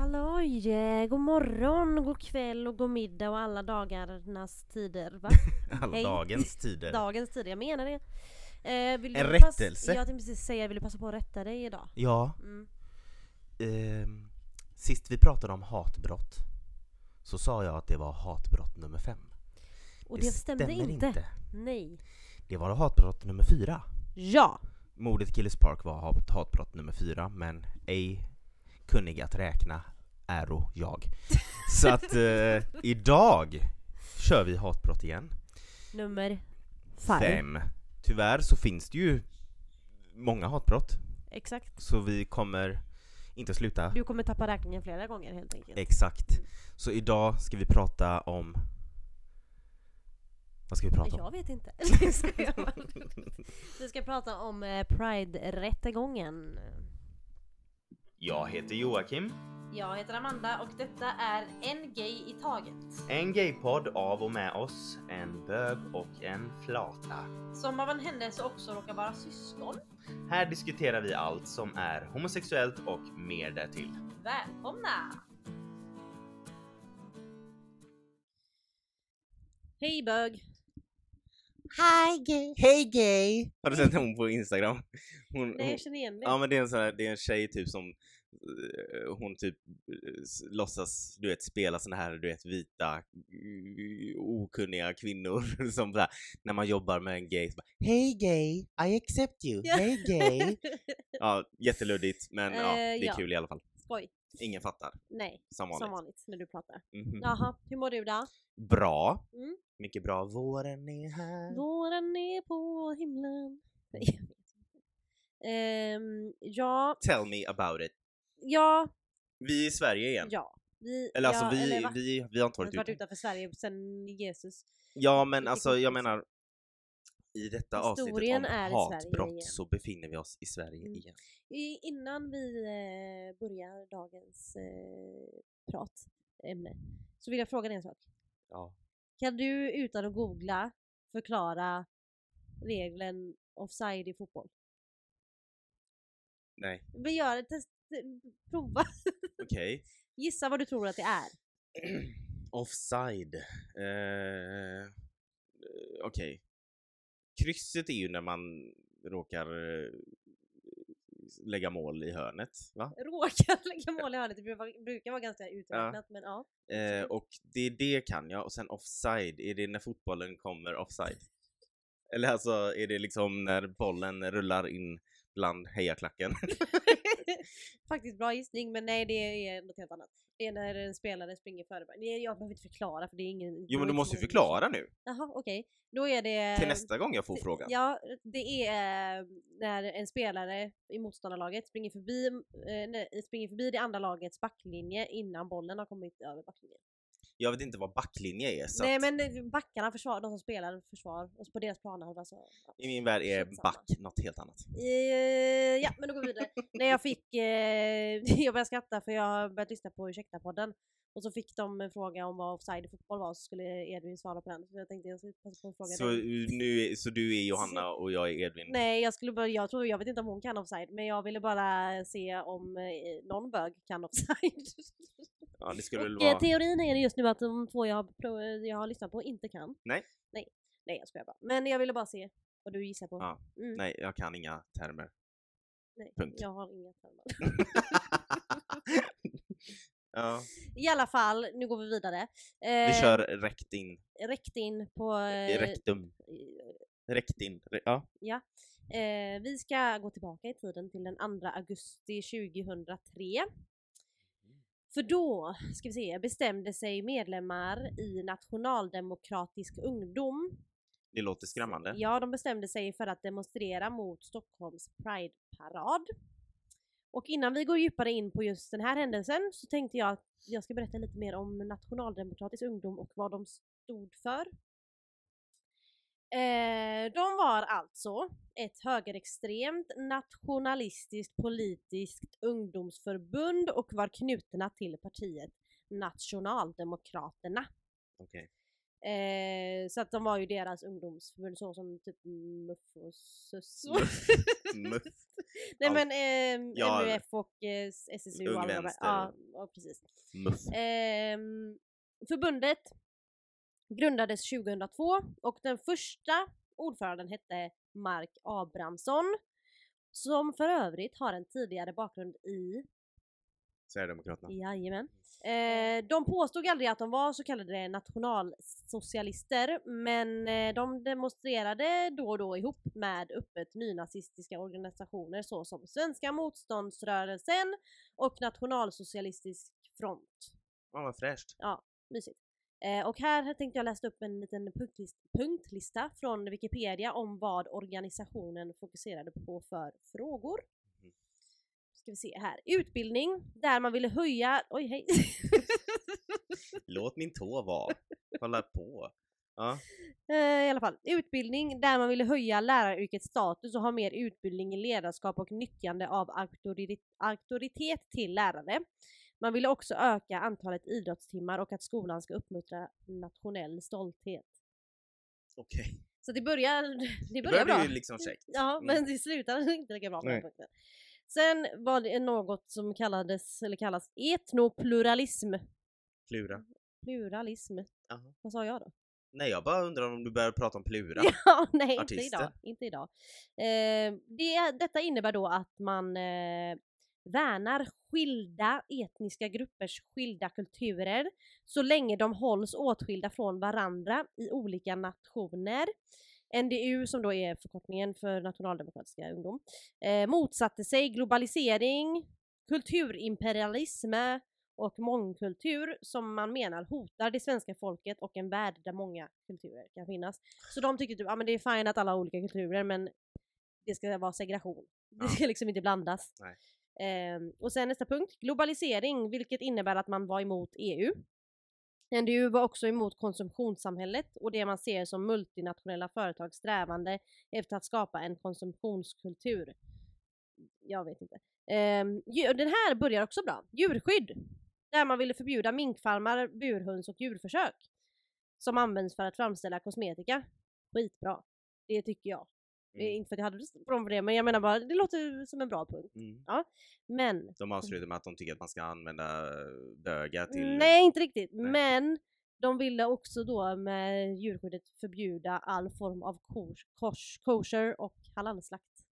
Halloj! eh, God morgon, god kväll och god middag och alla dagarnas tider. Va? Alla Hej. dagens tider. Dagens tider, jag menar det. Eh, vill En du pass- rättelse. Jag tänkte precis säga, vill du passa på att rätta dig idag? Ja, Mm. ehm, sist vi pratade om hatbrott så sa jag att det var hatbrott nummer fem. Och det, stämde stämmer inte. Nej. Det var hatbrott nummer fyra. Ja! Mordet i Killers Park var hat- hatbrott nummer fyra, men ej kunnig att räkna äro jag. Så att eh, idag kör vi hatbrott igen. Nummer fem. Fem. Tyvärr så finns det ju många hatbrott, Exakt. så vi kommer inte sluta Du kommer tappa räkningen flera gånger helt enkelt. Mm. Exakt. Så idag ska vi prata om... Vad ska vi prata om? jag vet inte. Det ska jag vara. Vi ska prata om eh, Pride-rättegången. Jag heter Joakim. Jag heter Amanda och detta är En Gay i Taget. En gaypodd av och med oss, en bög och en flata. Som av en händelse också råkar vara syskon. Här diskuterar vi allt som är homosexuellt och mer därtill. Välkomna! Hej bög! Hi gay! Hej gay! Har du sett hon på Instagram? Hon, Nej hon, jag känner igen dig. ja men det är en sån här, det är en tjej typ som eh, hon typ eh, s- låtsas, du vet, spela såna här, du vet, vita eh, okunniga kvinnor som så här, när man jobbar med en gay, så bara, Hej gay, I accept you, Ja. hey gay. ja, jätteluddigt men ja, Eh, det är ja. kul i alla fall. Skoj. Ingen fattar, Nej, som vanligt. som vanligt när du pratar. Mhm. Jaha, hur mår du då? Bra, Mm. mycket bra. Våren är här. Våren är på himlen. Nej, jag vet inte. Ehm, ja, Tell me about it. ja, Vi är i Sverige igen. ja. Vi, Eller alltså ja, vi, eller va? vi, vi har inte Vi har varit inte varit ute. utanför Sverige sedan Jesus. Ja men Lite alltså jag komplex. menar i detta Historien avsnittet om är i Sverige igen. hatbrott så befinner vi oss i Sverige Mm. igen. I- Innan vi eh, börjar dagens eh, prat, ämne, så vill jag fråga dig en sak. Ja. Kan du utan att googla förklara regeln offside i fotboll? Nej. Vi gör ett test, prova, Okej. gissa vad du tror att det är. Offside. Eh, eh, Okej. Krysset är ju när man råkar eh, lägga mål i hörnet, va? Råkar lägga mål i hörnet, det brukar- brukar vara ganska uträknat men ja. Eh, och det, det kan jag. Och sen offside, är det när fotbollen kommer offside? Eller alltså, är det liksom när bollen rullar in bland hejaklacken? Faktiskt bra gissning men nej det är något helt annat. Det är när en spelare springer före. Nej, Jag behöver inte förklara för det är ingen... Jo men du måste ju förklara nu, Jaha okej, då är det... till nästa gång jag får ehm, Det- frågan. Eh, Ja, det är eh, när en spelare i motståndarlaget springer förbi, eh, nej, springer förbi det andra lagets backlinje innan bollen har kommit över backlinjen. Jag vet inte vad backlinje är, så Nej att men eh, backarna, försvar, de som spelar försvar, alltså på deras planer. Alltså, ja. i min värld är Skitsamma. back något helt annat. Eh, ja, men då går vi vidare. När jag fick, eh, jag började skratta för jag har börjat lyssna på Ursäkta-podden. Och så fick de en fråga om vad offside i fotboll var så skulle Edvin svara på den. Så jag tänkte jag skulle passa på att fråga Så, dig. nu, är- så du är Johanna och jag är Edvin? Nej, jag skulle bara, jag tror, jag vet inte om hon kan offside, men jag ville bara se om eh, någon bög kan offside. Ja, det skulle väl Och eh, vara... teorin är just nu att de två jag har, pro- eh, jag har lyssnat på inte kan. Nej. Nej, Nej jag skojar bara. Men jag ville bara se vad du gissar på. Ja, Mm, Nej, jag kan inga termer. nej, punkt. Jag har inga termer. ja, I alla fall, nu går vi vidare. vi Eh, kör räckt in. Räckt in på... Eh, eh, Rektum. Räckt in. Re- Ja. Eh, vi ska gå tillbaka i tiden till den 2 augusti 2003. För då, ska vi se, bestämde sig medlemmar i Nationaldemokratisk ungdom. Det låter skrämmande. Ja, de bestämde sig för att demonstrera mot Stockholms Pride-parad. Och innan vi går djupare in på just den här händelsen så tänkte jag att jag ska berätta lite mer om Nationaldemokratisk ungdom och vad de stod för. Eh, de var alltså ett högerextremt nationalistiskt politiskt ungdomsförbund och var knutna till partiet Nationaldemokraterna. Okej. Eh, så att de var ju deras ungdomsförbund så som typ Muff och Sus. Muff. Nej Allt. men eh, Ja, MUF och eh, SSU. Ung och alla de här- Vänster. Ja, ja, precis. Muff. Eh, Ehm, förbundet grundades 2002 och den första ordföranden hette Mark Abrahamsson som för övrigt har en tidigare bakgrund i Sverigedemokraterna. Jajamän. Eh, de påstod aldrig att de var så kallade nationalsocialister men eh, de demonstrerade då och då ihop med öppet nynazistiska organisationer såsom Svenska motståndsrörelsen och Nationalsocialistisk front. Fan vad fräscht. Mysigt. Eh, och här tänkte jag läsa upp en liten punktlist, punktlista från Wikipedia om vad organisationen fokuserade på för frågor. Mhm. Ska vi se här. Utbildning, där man ville höja... Oj, hej! Låt min tå vara. Kolla på. Ja. Eh, I alla fall, utbildning där man ville höja läraryrkets status och ha mer utbildning i ledarskap och nyttjande av auktori- auktoritet till lärare. Man ville också öka antalet idrottstimmar och att skolan ska uppmuntra nationell stolthet. Okej. Så det börjar, det Det börjar bra. började ju liksom käckt. Ja, Mm. men det slutade inte lika bra på den Nej. punkten. Sen var det något som kallades, eller kallas etnopluralism. Plura. Pluralism. Jaha. Vad sa jag då? Nej, jag bara undrar om du börjar prata om Plura. Ja, nej, inte Artister. idag. Inte idag. Eh, det, detta innebär då att man eh, värnar skilda etniska gruppers skilda kulturer så länge de hålls åtskilda från varandra i olika nationer. NDU, som då är förkortningen för Nationaldemokratiska ungdom, eh, motsatte sig globalisering, kulturimperialism och mångkultur som man menar hotar det svenska folket och en värld där många kulturer kan finnas. Så de tyckte typ, ja men det är fint att alla har olika kulturer men det ska vara segregation. Ja. Det ska liksom inte blandas. Nej. Ehm, och sen nästa punkt, globalisering, vilket innebär att man var emot E EU. NDU var också emot konsumtionssamhället och det man ser som multinationella företags strävande efter att skapa en konsumtionskultur. Jag vet inte. Ehm, djur- den här börjar också bra. Djurskydd. Där man ville förbjuda minkfarmar, burhöns och djurförsök. Som används för att framställa kosmetika. Skitbra. Det tycker jag. Det är Mm. inte för att jag hade problem med det, men jag menar bara, det låter ju som en bra punkt. Mm. Men, De avslutar med att de tycker att man ska använda bögar till... Mm, nej inte riktigt, Nej. men de ville också då med djurskyddet förbjuda all form av kors, kors, kosher och halalslakt.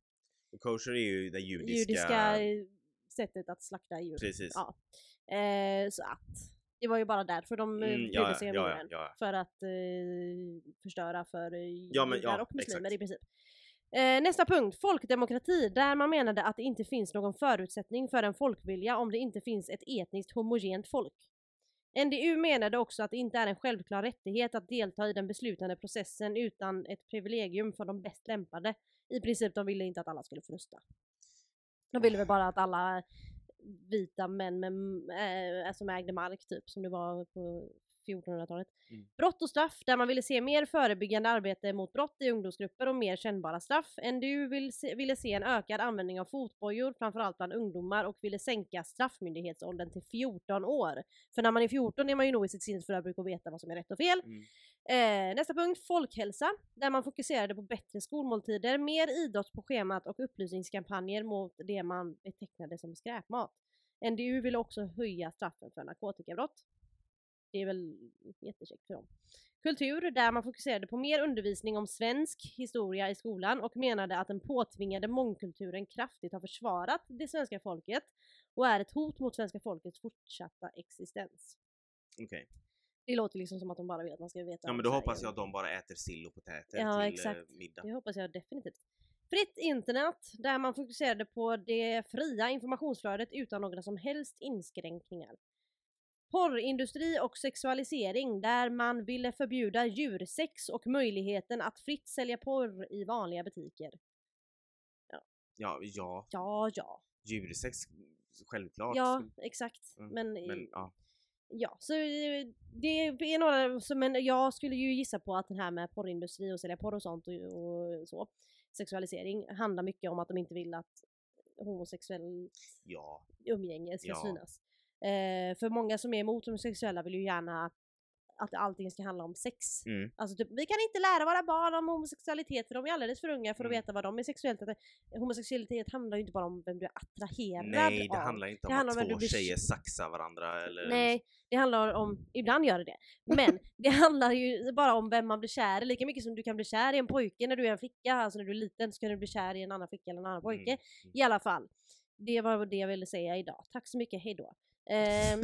Kosher är ju det judiska... Judiska eh, sättet att slakta djur. Precis. Ja. Eh, så att, det var ju bara därför de eh, Mm, brydde ja, sig ja, om ja, djuren. ja. För att eh, förstöra för eh, Ja, men- judar ja, och muslimer exakt. i princip. Eh, nästa punkt, folkdemokrati, där man menade att det inte finns någon förutsättning för en folkvilja om det inte finns ett etniskt homogent folk. NDU menade också att det inte är en självklar rättighet att delta i den beslutande processen utan ett privilegium för de bäst lämpade. I princip, de ville inte att alla skulle få rösta. De ville väl bara att alla vita män med, äh, som ägde mark typ, som det var på 1400-talet. Mm. Brott och straff, där man ville se mer förebyggande arbete mot brott i ungdomsgrupper och mer kännbara straff. NDU vill se, ville se en ökad användning av fotbojor, framförallt bland ungdomar, och ville sänka straffmyndighetsåldern till 14 år. För när man är 14 är man ju nog i sitt sinnesförbruk och veta vad som är rätt och fel. Mm. Eh, nästa punkt, folkhälsa, där man fokuserade på bättre skolmåltider, mer idrott på schemat och upplysningskampanjer mot det man betecknade som skräpmat. NDU ville också höja straffen för narkotikabrott. Det är väl jättekäckt för dem. Kultur, där man fokuserade på mer undervisning om svensk historia i skolan och menade att den påtvingade mångkulturen kraftigt har försvarat det svenska folket och är ett hot mot svenska folkets fortsatta existens. Okej. Det låter liksom som att de bara vill att man ska veta Ja om men då Sverige. hoppas jag att de bara äter sill och potäter Ja, till eh, exakt. middag. Det hoppas jag definitivt. Fritt internet, där man fokuserade på det fria informationsflödet utan några som helst inskränkningar. Porrindustri och sexualisering, där man ville förbjuda djursex och möjligheten att fritt sälja porr i vanliga butiker. Ja, ja. Ja, ja. Djursex, självklart. Ja, exakt. Mm, Men, Men ja. ja, så eh, det är några, som- men jag skulle ju gissa på att det här med porrindustri och sälja porr och sånt och, och så, sexualisering, handlar mycket om att de inte vill att homosexuell Ja. umgänge ska Ja. synas. Eh, för många som är emot homosexuella vill ju gärna att allting ska handla om sex. Mm. Alltså typ, vi kan inte lära våra barn om homosexualitet för de är alldeles för unga för att Mm. veta vad de är sexuellt. Homosexualitet handlar ju inte bara om vem du är attraherad Nej, det av. handlar inte om Det handlar om att vem två du blir- tjejer saxar varandra eller... liksom. Nej, det handlar om, ibland gör det det, men det handlar ju bara om vem man blir kär i, lika mycket som du kan bli kär i en pojke när du är en flicka, alltså när du är liten så kan du bli kär i en annan flicka eller en annan pojke. Mm. I alla fall, det var det jag ville säga idag. Tack så mycket, hejdå. Ehm,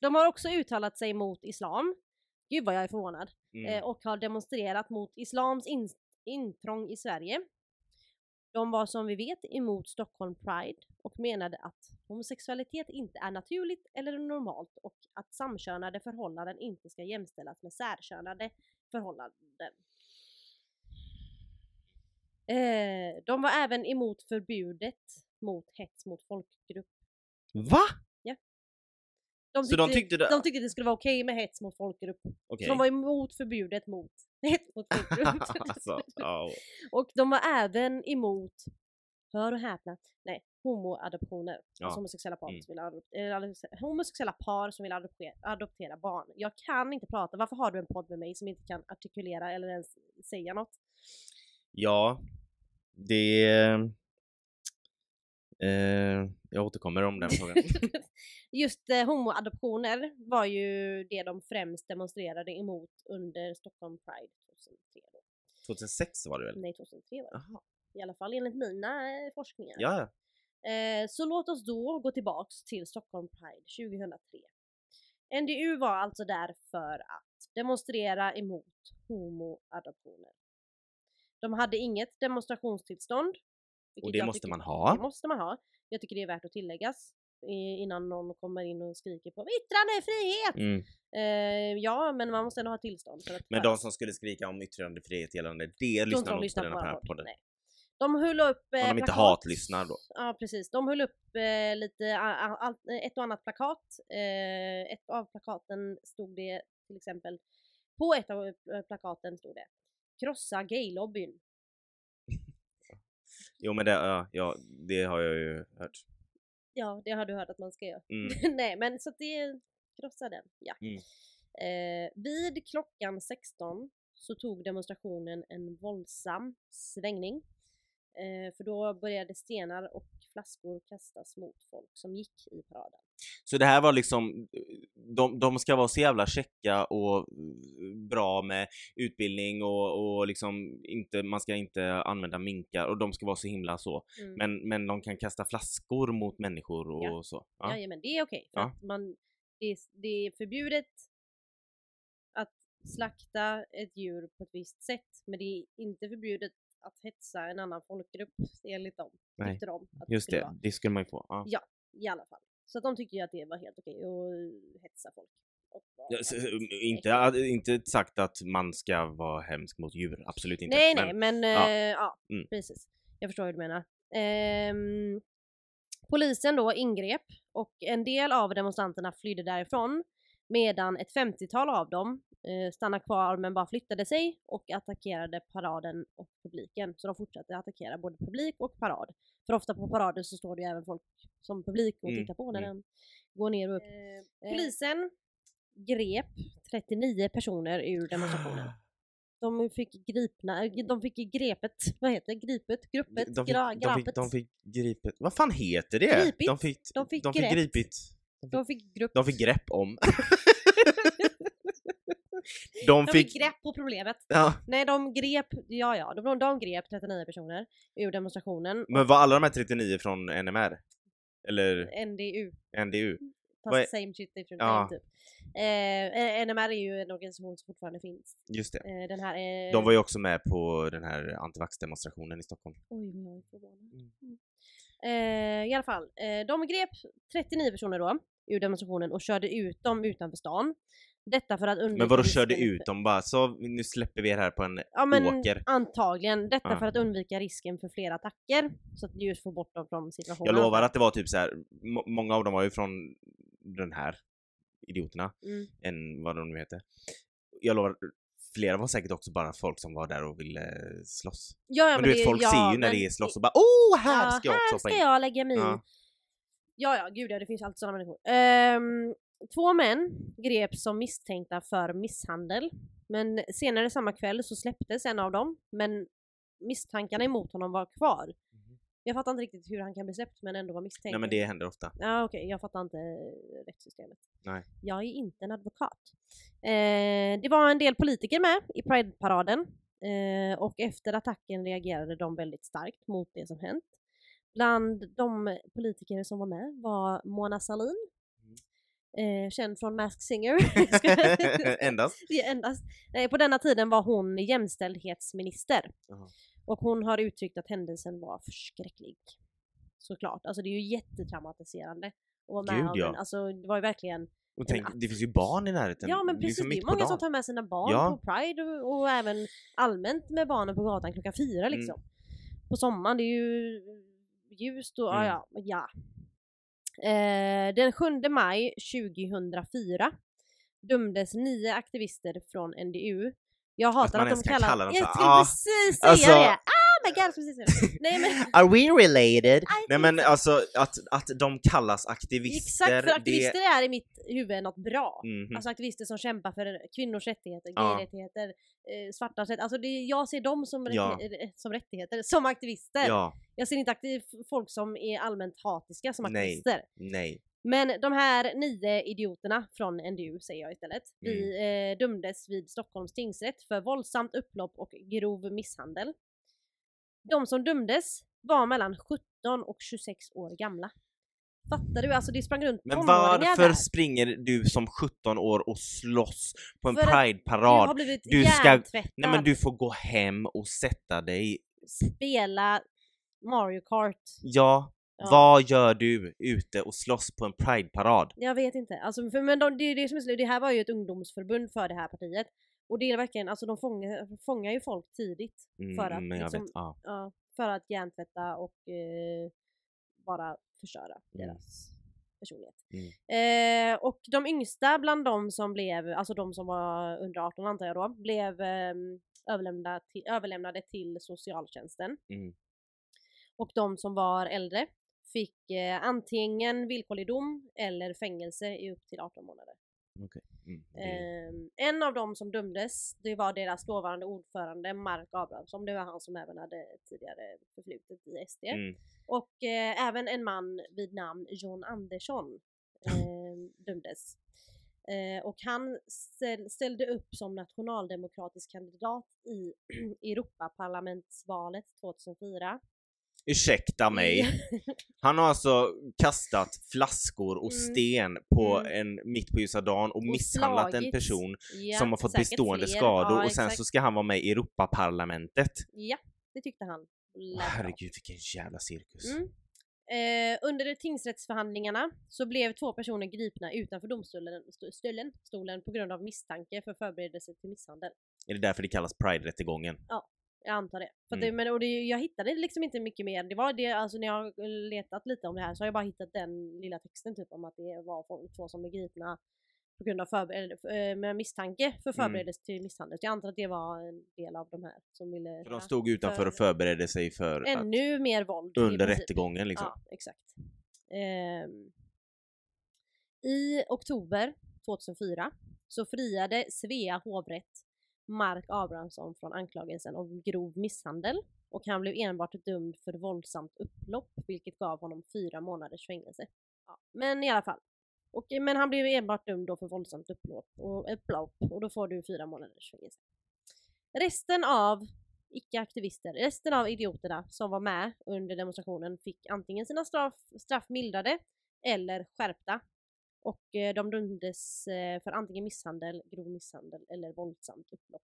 de har också uttalat sig mot islam, gud vad jag är förvånad, Mm. eh, och har demonstrerat mot islams in- intrång i Sverige. De var som vi vet emot Stockholm Pride och menade att homosexualitet inte är naturligt eller normalt och att samkönade förhållanden inte ska jämställas med särkönade förhållanden. Eh, de var även emot förbudet mot hets mot folkgrupp. Va? De Så de tyckte det... de tyckte det skulle vara okej med hets mot folkgrupp. Okej. Så de var emot förbudet mot hets mot folkgrupp. alltså, ja. Och de var även emot, hör och häpna, nej, homoadoptioner. Ja. Alltså homosexuella par, Mm. som vill eh, adoptera, homosexuella par som vill adoptera, adoptera barn. Jag kan inte prata, varför har du en podd med mig som inte kan artikulera eller ens säga något? ja, det... Eh, jag återkommer om den frågan. Just eh, homoadoptioner var ju det de främst demonstrerade emot under Stockholm Pride 2003. Då. 2006 var det väl? Nej, 2003 var det. Mm. Jaha. I alla fall enligt mina eh, forskningar. Ja, ja. Eh, Så låt oss då gå tillbaks till Stockholm Pride 2003. NDU var alltså där för att demonstrera emot homoadoptioner. De hade inget demonstrationstillstånd. vilket Och det jag måste tycker- man Det ha. måste man ha. Jag tycker det är värt att tilläggas eh, innan någon kommer in och skriker på yttrandefrihet! Mm. Eh, ja, men man måste ändå ha tillstånd. För att Men föra- de som skulle skrika om yttrandefrihet gällande det de lyssnar som nog inte på lyssnar på den här vår podd. podden. Nej. De höll upp eh, Om de inte plakat. hatlyssnar då. Ja precis, de höll upp eh, lite a- a- allt- eh, ett och annat plakat. Eh, ett av plakaten stod det till exempel, på ett av eh, plakaten stod det Krossa gaylobbyn. Jo men det, ja, ja, det har jag ju hört. Ja, det har du hört att man ska göra. Mm. Nej men så att det, krossa den, ja. Mm. Eh, vid klockan 16 så tog demonstrationen en våldsam svängning. Eh, för då började stenar och flaskor kastas mot folk som gick i paraden. Så det här var liksom, de, de ska vara så jävla checka och bra med utbildning och, och liksom inte, man ska inte använda minkar och de ska vara så himla så. Mm. Men, men de kan kasta flaskor mot människor och Ja. så. Ja. Ja. Jajamän, det är okej. för Ja. att man, det, är, det är förbjudet att slakta ett djur på ett visst sätt, men det är inte förbjudet att hetsa en annan folkgrupp enligt dem. Nej, tyckte de att Just skulle det, vara, det skulle man ju få. Ja. I alla fall. Så att de tyckte ju att det var helt okej att hetsa folk. Och vara- Ja, s- s- Inte, inte sagt att man ska vara hemsk mot djur, absolut inte. Nej, Men- nej, men ja. ja, ja Mm. precis. Jag förstår hur du menar. Ehm, polisen då ingrep och en del av demonstranterna flydde därifrån medan ett 50-tal av dem eh, stannade kvar men bara flyttade sig och attackerade paraden och publiken. Så de fortsatte attackera både publik och parad. För ofta på parader så står det ju även folk som publik och Mm, tittar på när mm. den går ner och upp. Eh, Eh, Polisen grep 39 personer ur demonstrationen. De fick gripna, eh, de fick grepet, vad heter det, gripet, gruppet, De fick, gra, de fick, grapet. de fick gripet. Vad fan heter det? Gripit. De fick, De fick de fick grepp. gripit. de fick grupp, De fick grepp om. de de fick... fick grepp på problemet. Ja, Nej, de grep, ja ja, de, de grep 39 personer ur demonstrationen. men var alla de här 39 från NMR? Eller NDU, Eh, NDU? Vad är- fast same shit different Ja. name typ. Eh, eh, NMR är ju en organisation som fortfarande finns. Just det. Eh, den här eh, De var ju också med på den här antivax-demonstrationen i Stockholm. Oj, vad jag är förvånad. Mm. Mm. Eh, I alla fall, eh, de grep 39 personer då ur demonstrationen och körde ut dem utanför stan. Detta för att undvika... Men vadå körde risken- ut dem bara så nu släpper vi er här på en... Ja men åker? Ah. antagligen. Detta Ja. för att undvika risken för fler attacker. Så att just få bort dem från situationen. Jag lovar att det var typ så här. må- många av dem var ju från den här idioterna. Mm. än vad de nu heter. Jag lovar, flera var säkert också bara folk som var där och ville eh, slåss. Ja, ja, men, du vet, det- folk ja, ser ju när men- det är slåss och bara åh, här Ja, ska jag också Här hoppa ska in. jag lägga min. Ja. Ja, ja, gud ja, det finns alltid sådana människor. Ehm, Två män greps som misstänkta för misshandel. Men senare samma kväll så släpptes en av dem, men misstankarna emot honom var kvar. Jag fattar inte riktigt hur han kan bli släppt men ändå vara misstänkt. Mhm. Nej men det händer ofta. Ja okej, jag fattar inte eh, rättssystemet. Nej. Jag är inte en advokat. Eh, det var en del politiker med i Pride-paraden eh, och efter attacken reagerade de väldigt starkt mot det som hänt. Bland de politiker som var med var Mona Sahlin, eh, känd från Mask Singer. Mm. Endast. Det är endast. Nej, på denna tiden var hon jämställdhetsminister. Jaha. Och hon har uttryckt att händelsen var förskräcklig. Såklart. Alltså det är ju jättetraumatiserande. att vara med Gud, om ja. en- Alltså det var ju verkligen... Och tänk, det finns ju barn i närheten. ja men liksom precis, det mitt är på många som dagen. tar med sina barn Ja. på Pride och, och även allmänt med barnen på gatan klockan fyra Mm. liksom. På sommaren, det är ju ljust och ah, Mm. ja, ja. ja. Eh, den 7 maj 2004 dömdes nio aktivister från NDU. Jag hatar man att, ens de kan kallar, kalla dem Jag så. skulle Ah, precis säga alltså- det! Ah my god, jag skulle precis säga det. Nej men Are we related? I Nej think men alltså att, att de kallas aktivister. exakt, för aktivister Det... är i mitt huvud något bra. Mhm. Alltså aktivister som kämpar för kvinnors rättigheter, Ja. gay-rättigheter, eh, svarta rättigheter. Alltså det, jag ser dem som, rätti- Ja. eh, som rättigheter, som aktivister. Ja, Jag ser inte aktiv, folk som är allmänt hatiska som Nej. aktivister. nej. Men de här nio idioterna från NDU säger jag istället, vi Mm. eh, dömdes vid Stockholms tingsrätt för våldsamt upplopp och grov misshandel. De som dömdes var mellan 17 och 26 år gamla. Fattar du? Alltså det sprang runt Men tonåringar varför där. springer du som 17 år och slåss på en För att Du har prideparad? blivit Du ska- hjärntvättad. Nej men du får gå hem och sätta dig. Spela Mario Kart. Ja, Ja. vad gör du ute och slåss på en prideparad? Jag vet inte. Alltså, för, men de, det, är det, som är slut. det här var ju ett ungdomsförbund för det här partiet. Och det är verkligen, alltså de fångar, fångar ju folk tidigt. Mm, För att men jag liksom- vet, ja. Ja, för att hjärntvätta och eh, bara förstöra Mm. deras personlighet. Eh, och de yngsta bland de som blev, alltså de som var under 18 antar jag då, blev eh, överlämnade, till, överlämnade till socialtjänsten. Mm. Och de som var äldre fick eh, antingen villkorlig dom eller fängelse i upp till 18 månader. Mm, det- Ehm, en av dem som dömdes, det var deras dåvarande ordförande Mark Abrahamsson, det var han som även hade tidigare förflutet i SD. Mm. Och eh, även en man vid namn John Andersson eh, dömdes. Eh, och han ställ, ställde upp som nationaldemokratisk kandidat i Europaparlamentsvalet 2004. Ursäkta mig. Han har alltså kastat flaskor och Mm. sten på Mm. en mitt på ljusa dagen och, misshandlat en slagits. person Ja, som har fått säkert bestående fler. skador ja, och sen exakt. så ska han vara med i Europaparlamentet. Ja, det tyckte han. Lät Åh, bra. herregud vilken jävla cirkus. Mm. Eh, under tingsrättsförhandlingarna så blev två personer gripna utanför domstolen st- stolen, stolen på grund av misstanke för förberedelse till misshandel. Är det därför det kallas Pride-rättegången? Jag antar det. För att Mm. det men, och det, jag hittade liksom inte mycket mer. Det var det, alltså när jag har letat lite om det här så har jag bara hittat den lilla texten typ om att det var folk- två som blev gripna på grund av förbe- eller, eh, med misstanke Mm. för förberedelse till misshandel. Så jag antar att det var en del av de här som ville För de stod utanför för- och förberedde sig för att- ännu mer våld. i under princip. rättegången liksom. Ja, exakt. Ehm, I oktober 2004 så friade Svea hovrätt Mark Abrahamsson från anklagelsen om grov misshandel och han blev enbart dömd för våldsamt upplopp vilket gav honom fyra månaders fängelse. Ja, men i alla fall. Och, men han blev enbart dömd då för våldsamt upplopp och, upplopp och då får du fyra månaders fängelse. Resten av icke-aktivister, resten av idioterna som var med under demonstrationen fick antingen sina straff, straff mildrade eller skärpta. Och eh, de dömdes eh, för antingen misshandel, grov misshandel eller våldsamt upplopp.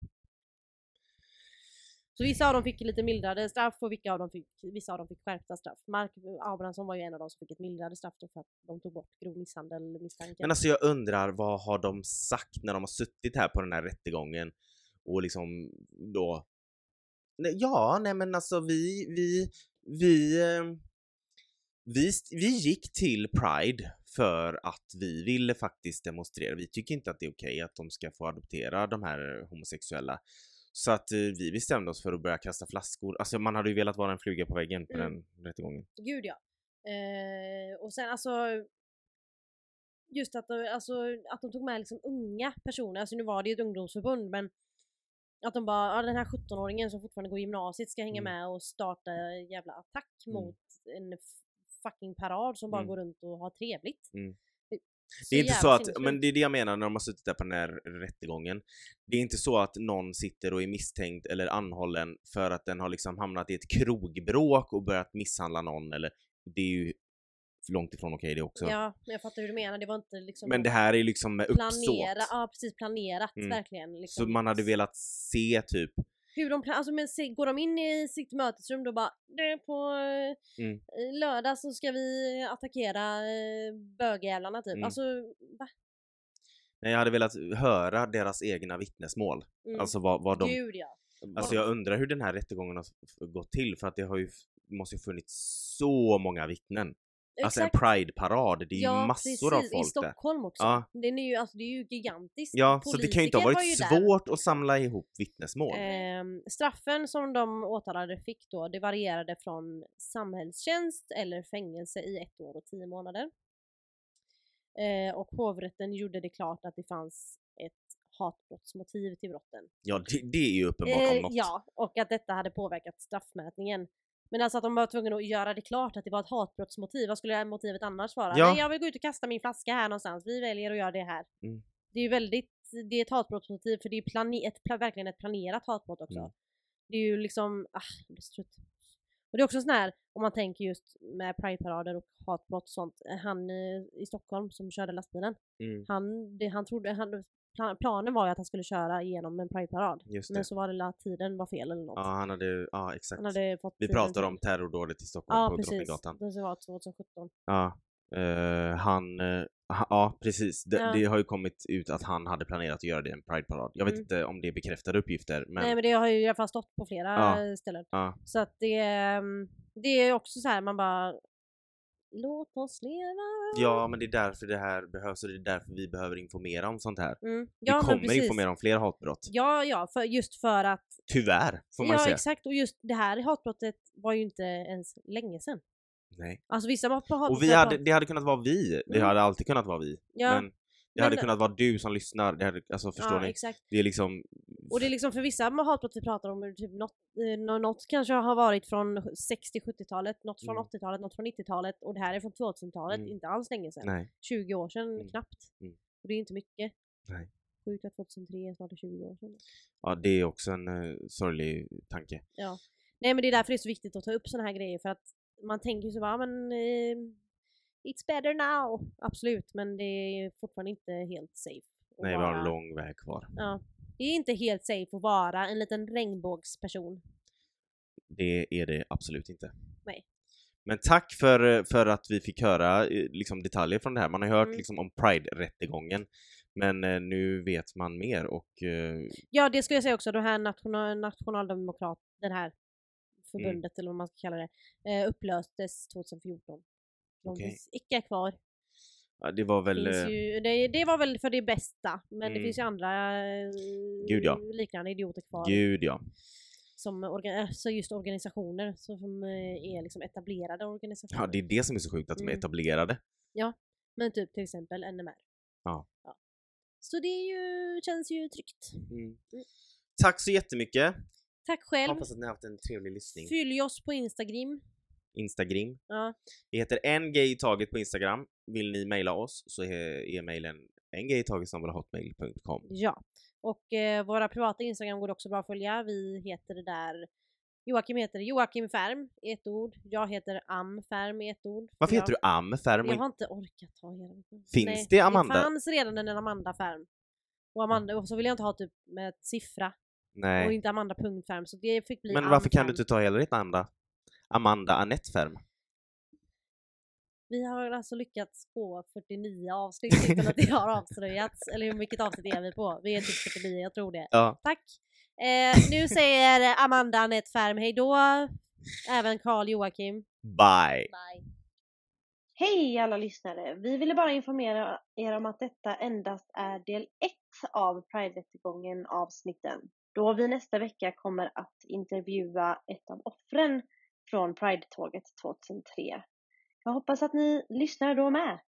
Så vissa av dem fick lite mildrade straff och vilka av dem fick, vissa av dem fick skärpta straff. Mark Abrahamsson var ju en av dem som fick ett mildrade straff då för att de tog bort grov misshandel misstanken. Men alltså jag undrar vad har de sagt när de har suttit här på den här rättegången och liksom då nej, Ja, nej men alltså vi, vi, vi, eh, vi, st- vi gick till Pride för att vi ville faktiskt demonstrera. Vi tycker inte att det är okej att de ska få adoptera de här homosexuella. Så att eh, vi bestämde oss för att börja kasta flaskor. Alltså man hade ju velat vara en fluga på väggen på Mm. den rättegången. Gud ja. Eh, och sen alltså just att, de- alltså, att de tog med liksom unga personer, alltså nu var det ju ett ungdomsförbund men att de bara, ja, den här 17-åringen som fortfarande går i gymnasiet ska hänga Mm. med och starta en jävla attack Mm. mot en f- fucking parad som bara Mm. går runt och har trevligt. Mm. Det, Det är inte så jävla att, sinnessjukt. men det är det jag menar när de har suttit där på den här rättegången. Det är inte så att någon sitter och är misstänkt eller anhållen för att den har liksom hamnat i ett krogbråk och börjat misshandla någon eller det är ju långt ifrån okej det också. Ja, men jag fattar hur du menar, det var inte liksom Men det här är liksom med uppsåt. planera, ja precis planerat Mm. verkligen. Liksom. Så man hade velat se typ, hur de plan- alltså, men se, går de in i sitt mötesrum då bara "Du, på eh, Mm. lördag så ska vi attackera eh, bögjävlarna typ. Mm. Alltså va? nej jag hade velat höra deras egna vittnesmål. Mm. Alltså vad, vad de, Gud ja. alltså jag undrar hur den här rättegången har f- gått till för att det har ju, måste ju funnits så många vittnen. Alltså en Exakt. pride-parad, det är ju massor av i folk där. Stockholm också. Ja. Den är ju, alltså, det är ju gigantiskt. Ja, så det kan ju inte ha Politiker varit var ju där. svårt att samla ihop vittnesmål. Ehm, straffen som de åtalade fick då, det varierade från samhällstjänst eller fängelse i ett år och tio månader. Eh, och hovrätten gjorde det klart att det fanns ett hatbrottsmotiv till brotten. Ja, det, det är ju uppenbart om Eh, något. ja, och att detta hade påverkat straffmätningen. Men alltså att de var tvungna att göra det klart att det var ett hatbrottsmotiv. Vad skulle det här motivet annars vara? Ja. Nej, jag vill gå ut och kasta min flaska här någonstans. Vi väljer att göra det här. Mm. Det är ju väldigt, det är ett hatbrottsmotiv för det är ju plane, ett, pla- verkligen ett planerat hatbrott också. Mm. Det är ju liksom, ah, jag blir så trött. Och det är också sån här, om man tänker just med prideparader och hatbrott och sånt. eh, Han eh, i Stockholm som körde lastbilen, Mm, han, det, han trodde, han, plan- planen var ju att han skulle köra igenom en prideparad. just det. Men så var det la- tiden var fel eller något. Ja, han hade, ja exakt. Han hade fått Vi tiden pratar fel. om terrordådet i Stockholm ja, på precis. Drottninggatan. Det var 2017. Ja, eh, han, eh, ha- ja precis. Det, Ja. det har ju kommit ut att han hade planerat att göra det i en prideparad. Jag vet Mm. inte om det är bekräftade uppgifter, men, Nej men det har ju i alla fall stått på flera Ja. ställen. ja, Så att det, ehm, det är också så här man bara Låt oss leva. ja, men det är därför det här behövs och det är därför vi behöver informera om sånt här. Mm. vi men kommer precis. informera om fler hatbrott. Ja, ja, för, just för att Tyvärr, får man Ja, ju säga. exakt. Och just det här hatbrottet var ju inte ens länge sedan. Nej. Alltså vissa var på hatbrott. Och vi hade, det hade kunnat vara vi. Det Mm. hade alltid kunnat vara vi. Ja, Men det hade men- kunnat vara du som lyssnar. Det hade, alltså förstår ja, ni? exakt. Det är liksom... Och det är liksom för vissa med hatbrott vi pratar om, typ något, eh, nå- något kanske har varit från 60-70-talet, något från Mm. 80-talet, något från 90-talet och det här är från 2000-talet, Mm. inte alls länge sedan. Nej. 20 år sedan Mm. knappt. Mm. Och det är inte mycket. Nej. Sjukt att 2003 är snart 20 år sedan. Ja, det är också en eh, sorglig tanke. Nej men det är därför det är så viktigt att ta upp såna här grejer för att man tänker ju så bara, "Ja, men eh, it's better now. Absolut, men det är fortfarande inte helt safe. att Nej, vi har vara- en lång väg kvar. Ja. Det är inte helt safe att vara en liten regnbågsperson. Det är det absolut inte. Nej. Men tack för, eh, för att vi fick höra eh, liksom, detaljer från det här. Man har ju hört Mm. liksom, om Pride-rättegången, men eh, nu vet man mer och eh, Ja, det skulle jag säga också. Det här national, nationaldemokrat, den här förbundet Mm. eller vad man ska kalla det, eh, upplöstes 2014. De Okej. finns icke kvar. ja, det var väl... Finns eh, ju, det, det var väl för det bästa, men Mm. det finns ju andra eh, Gud, ja. liknande idioter kvar. Gud ja. Som orga, alltså just organisationer som eh, är liksom etablerade organisationer. ja. Det är det som är så sjukt, att de är Mm. etablerade. Men typ till exempel NMR. Ja. Så det är ju, känns ju tryggt. Tack så jättemycket. Tack själv. Hoppas att ni har haft en trevlig lyssning. Följ oss på Instagram. Instagram. Ja. Vi heter en gay i taget på Instagram. Vill ni mejla oss så he- är mejlen engayitaget.hotmail.com. Ja, och eh, våra privata Instagram går också bra att följa. Vi heter där Joakim heter Joakim Färm i ett ord. Jag heter Am Färm i ett ord. Varför heter du Am Ferm? Jag och inte- har inte orkat ha hela mitt namn. Finns det Amanda? Mm. Det fanns redan en Amanda Färm. Och, Amanda, och så vill jag inte ha typ med ett siffra och Nej. inte Amanda punkt Färm så det fick bli Men Am varför kan Färm. du inte ta hela ditt namn då? Amanda Anette Ferm. Vi har alltså lyckats på 49 avsnitt utan att det har avslöjats. Eller hur mycket avsnitt är vi på? Vi är typ 49, jag tror det. Ja. Tack! Eh, nu säger Amanda Anette Färm hej då. Även Karl Joakim. Bye! Bye. Hej alla lyssnare! Vi ville bara informera er om eh, att detta endast är del 1 av Pride-rättegången avsnitten. Då vi nästa vecka kommer att intervjua ett av offren från Pride-tåget 2003. Jag hoppas att ni lyssnar då med.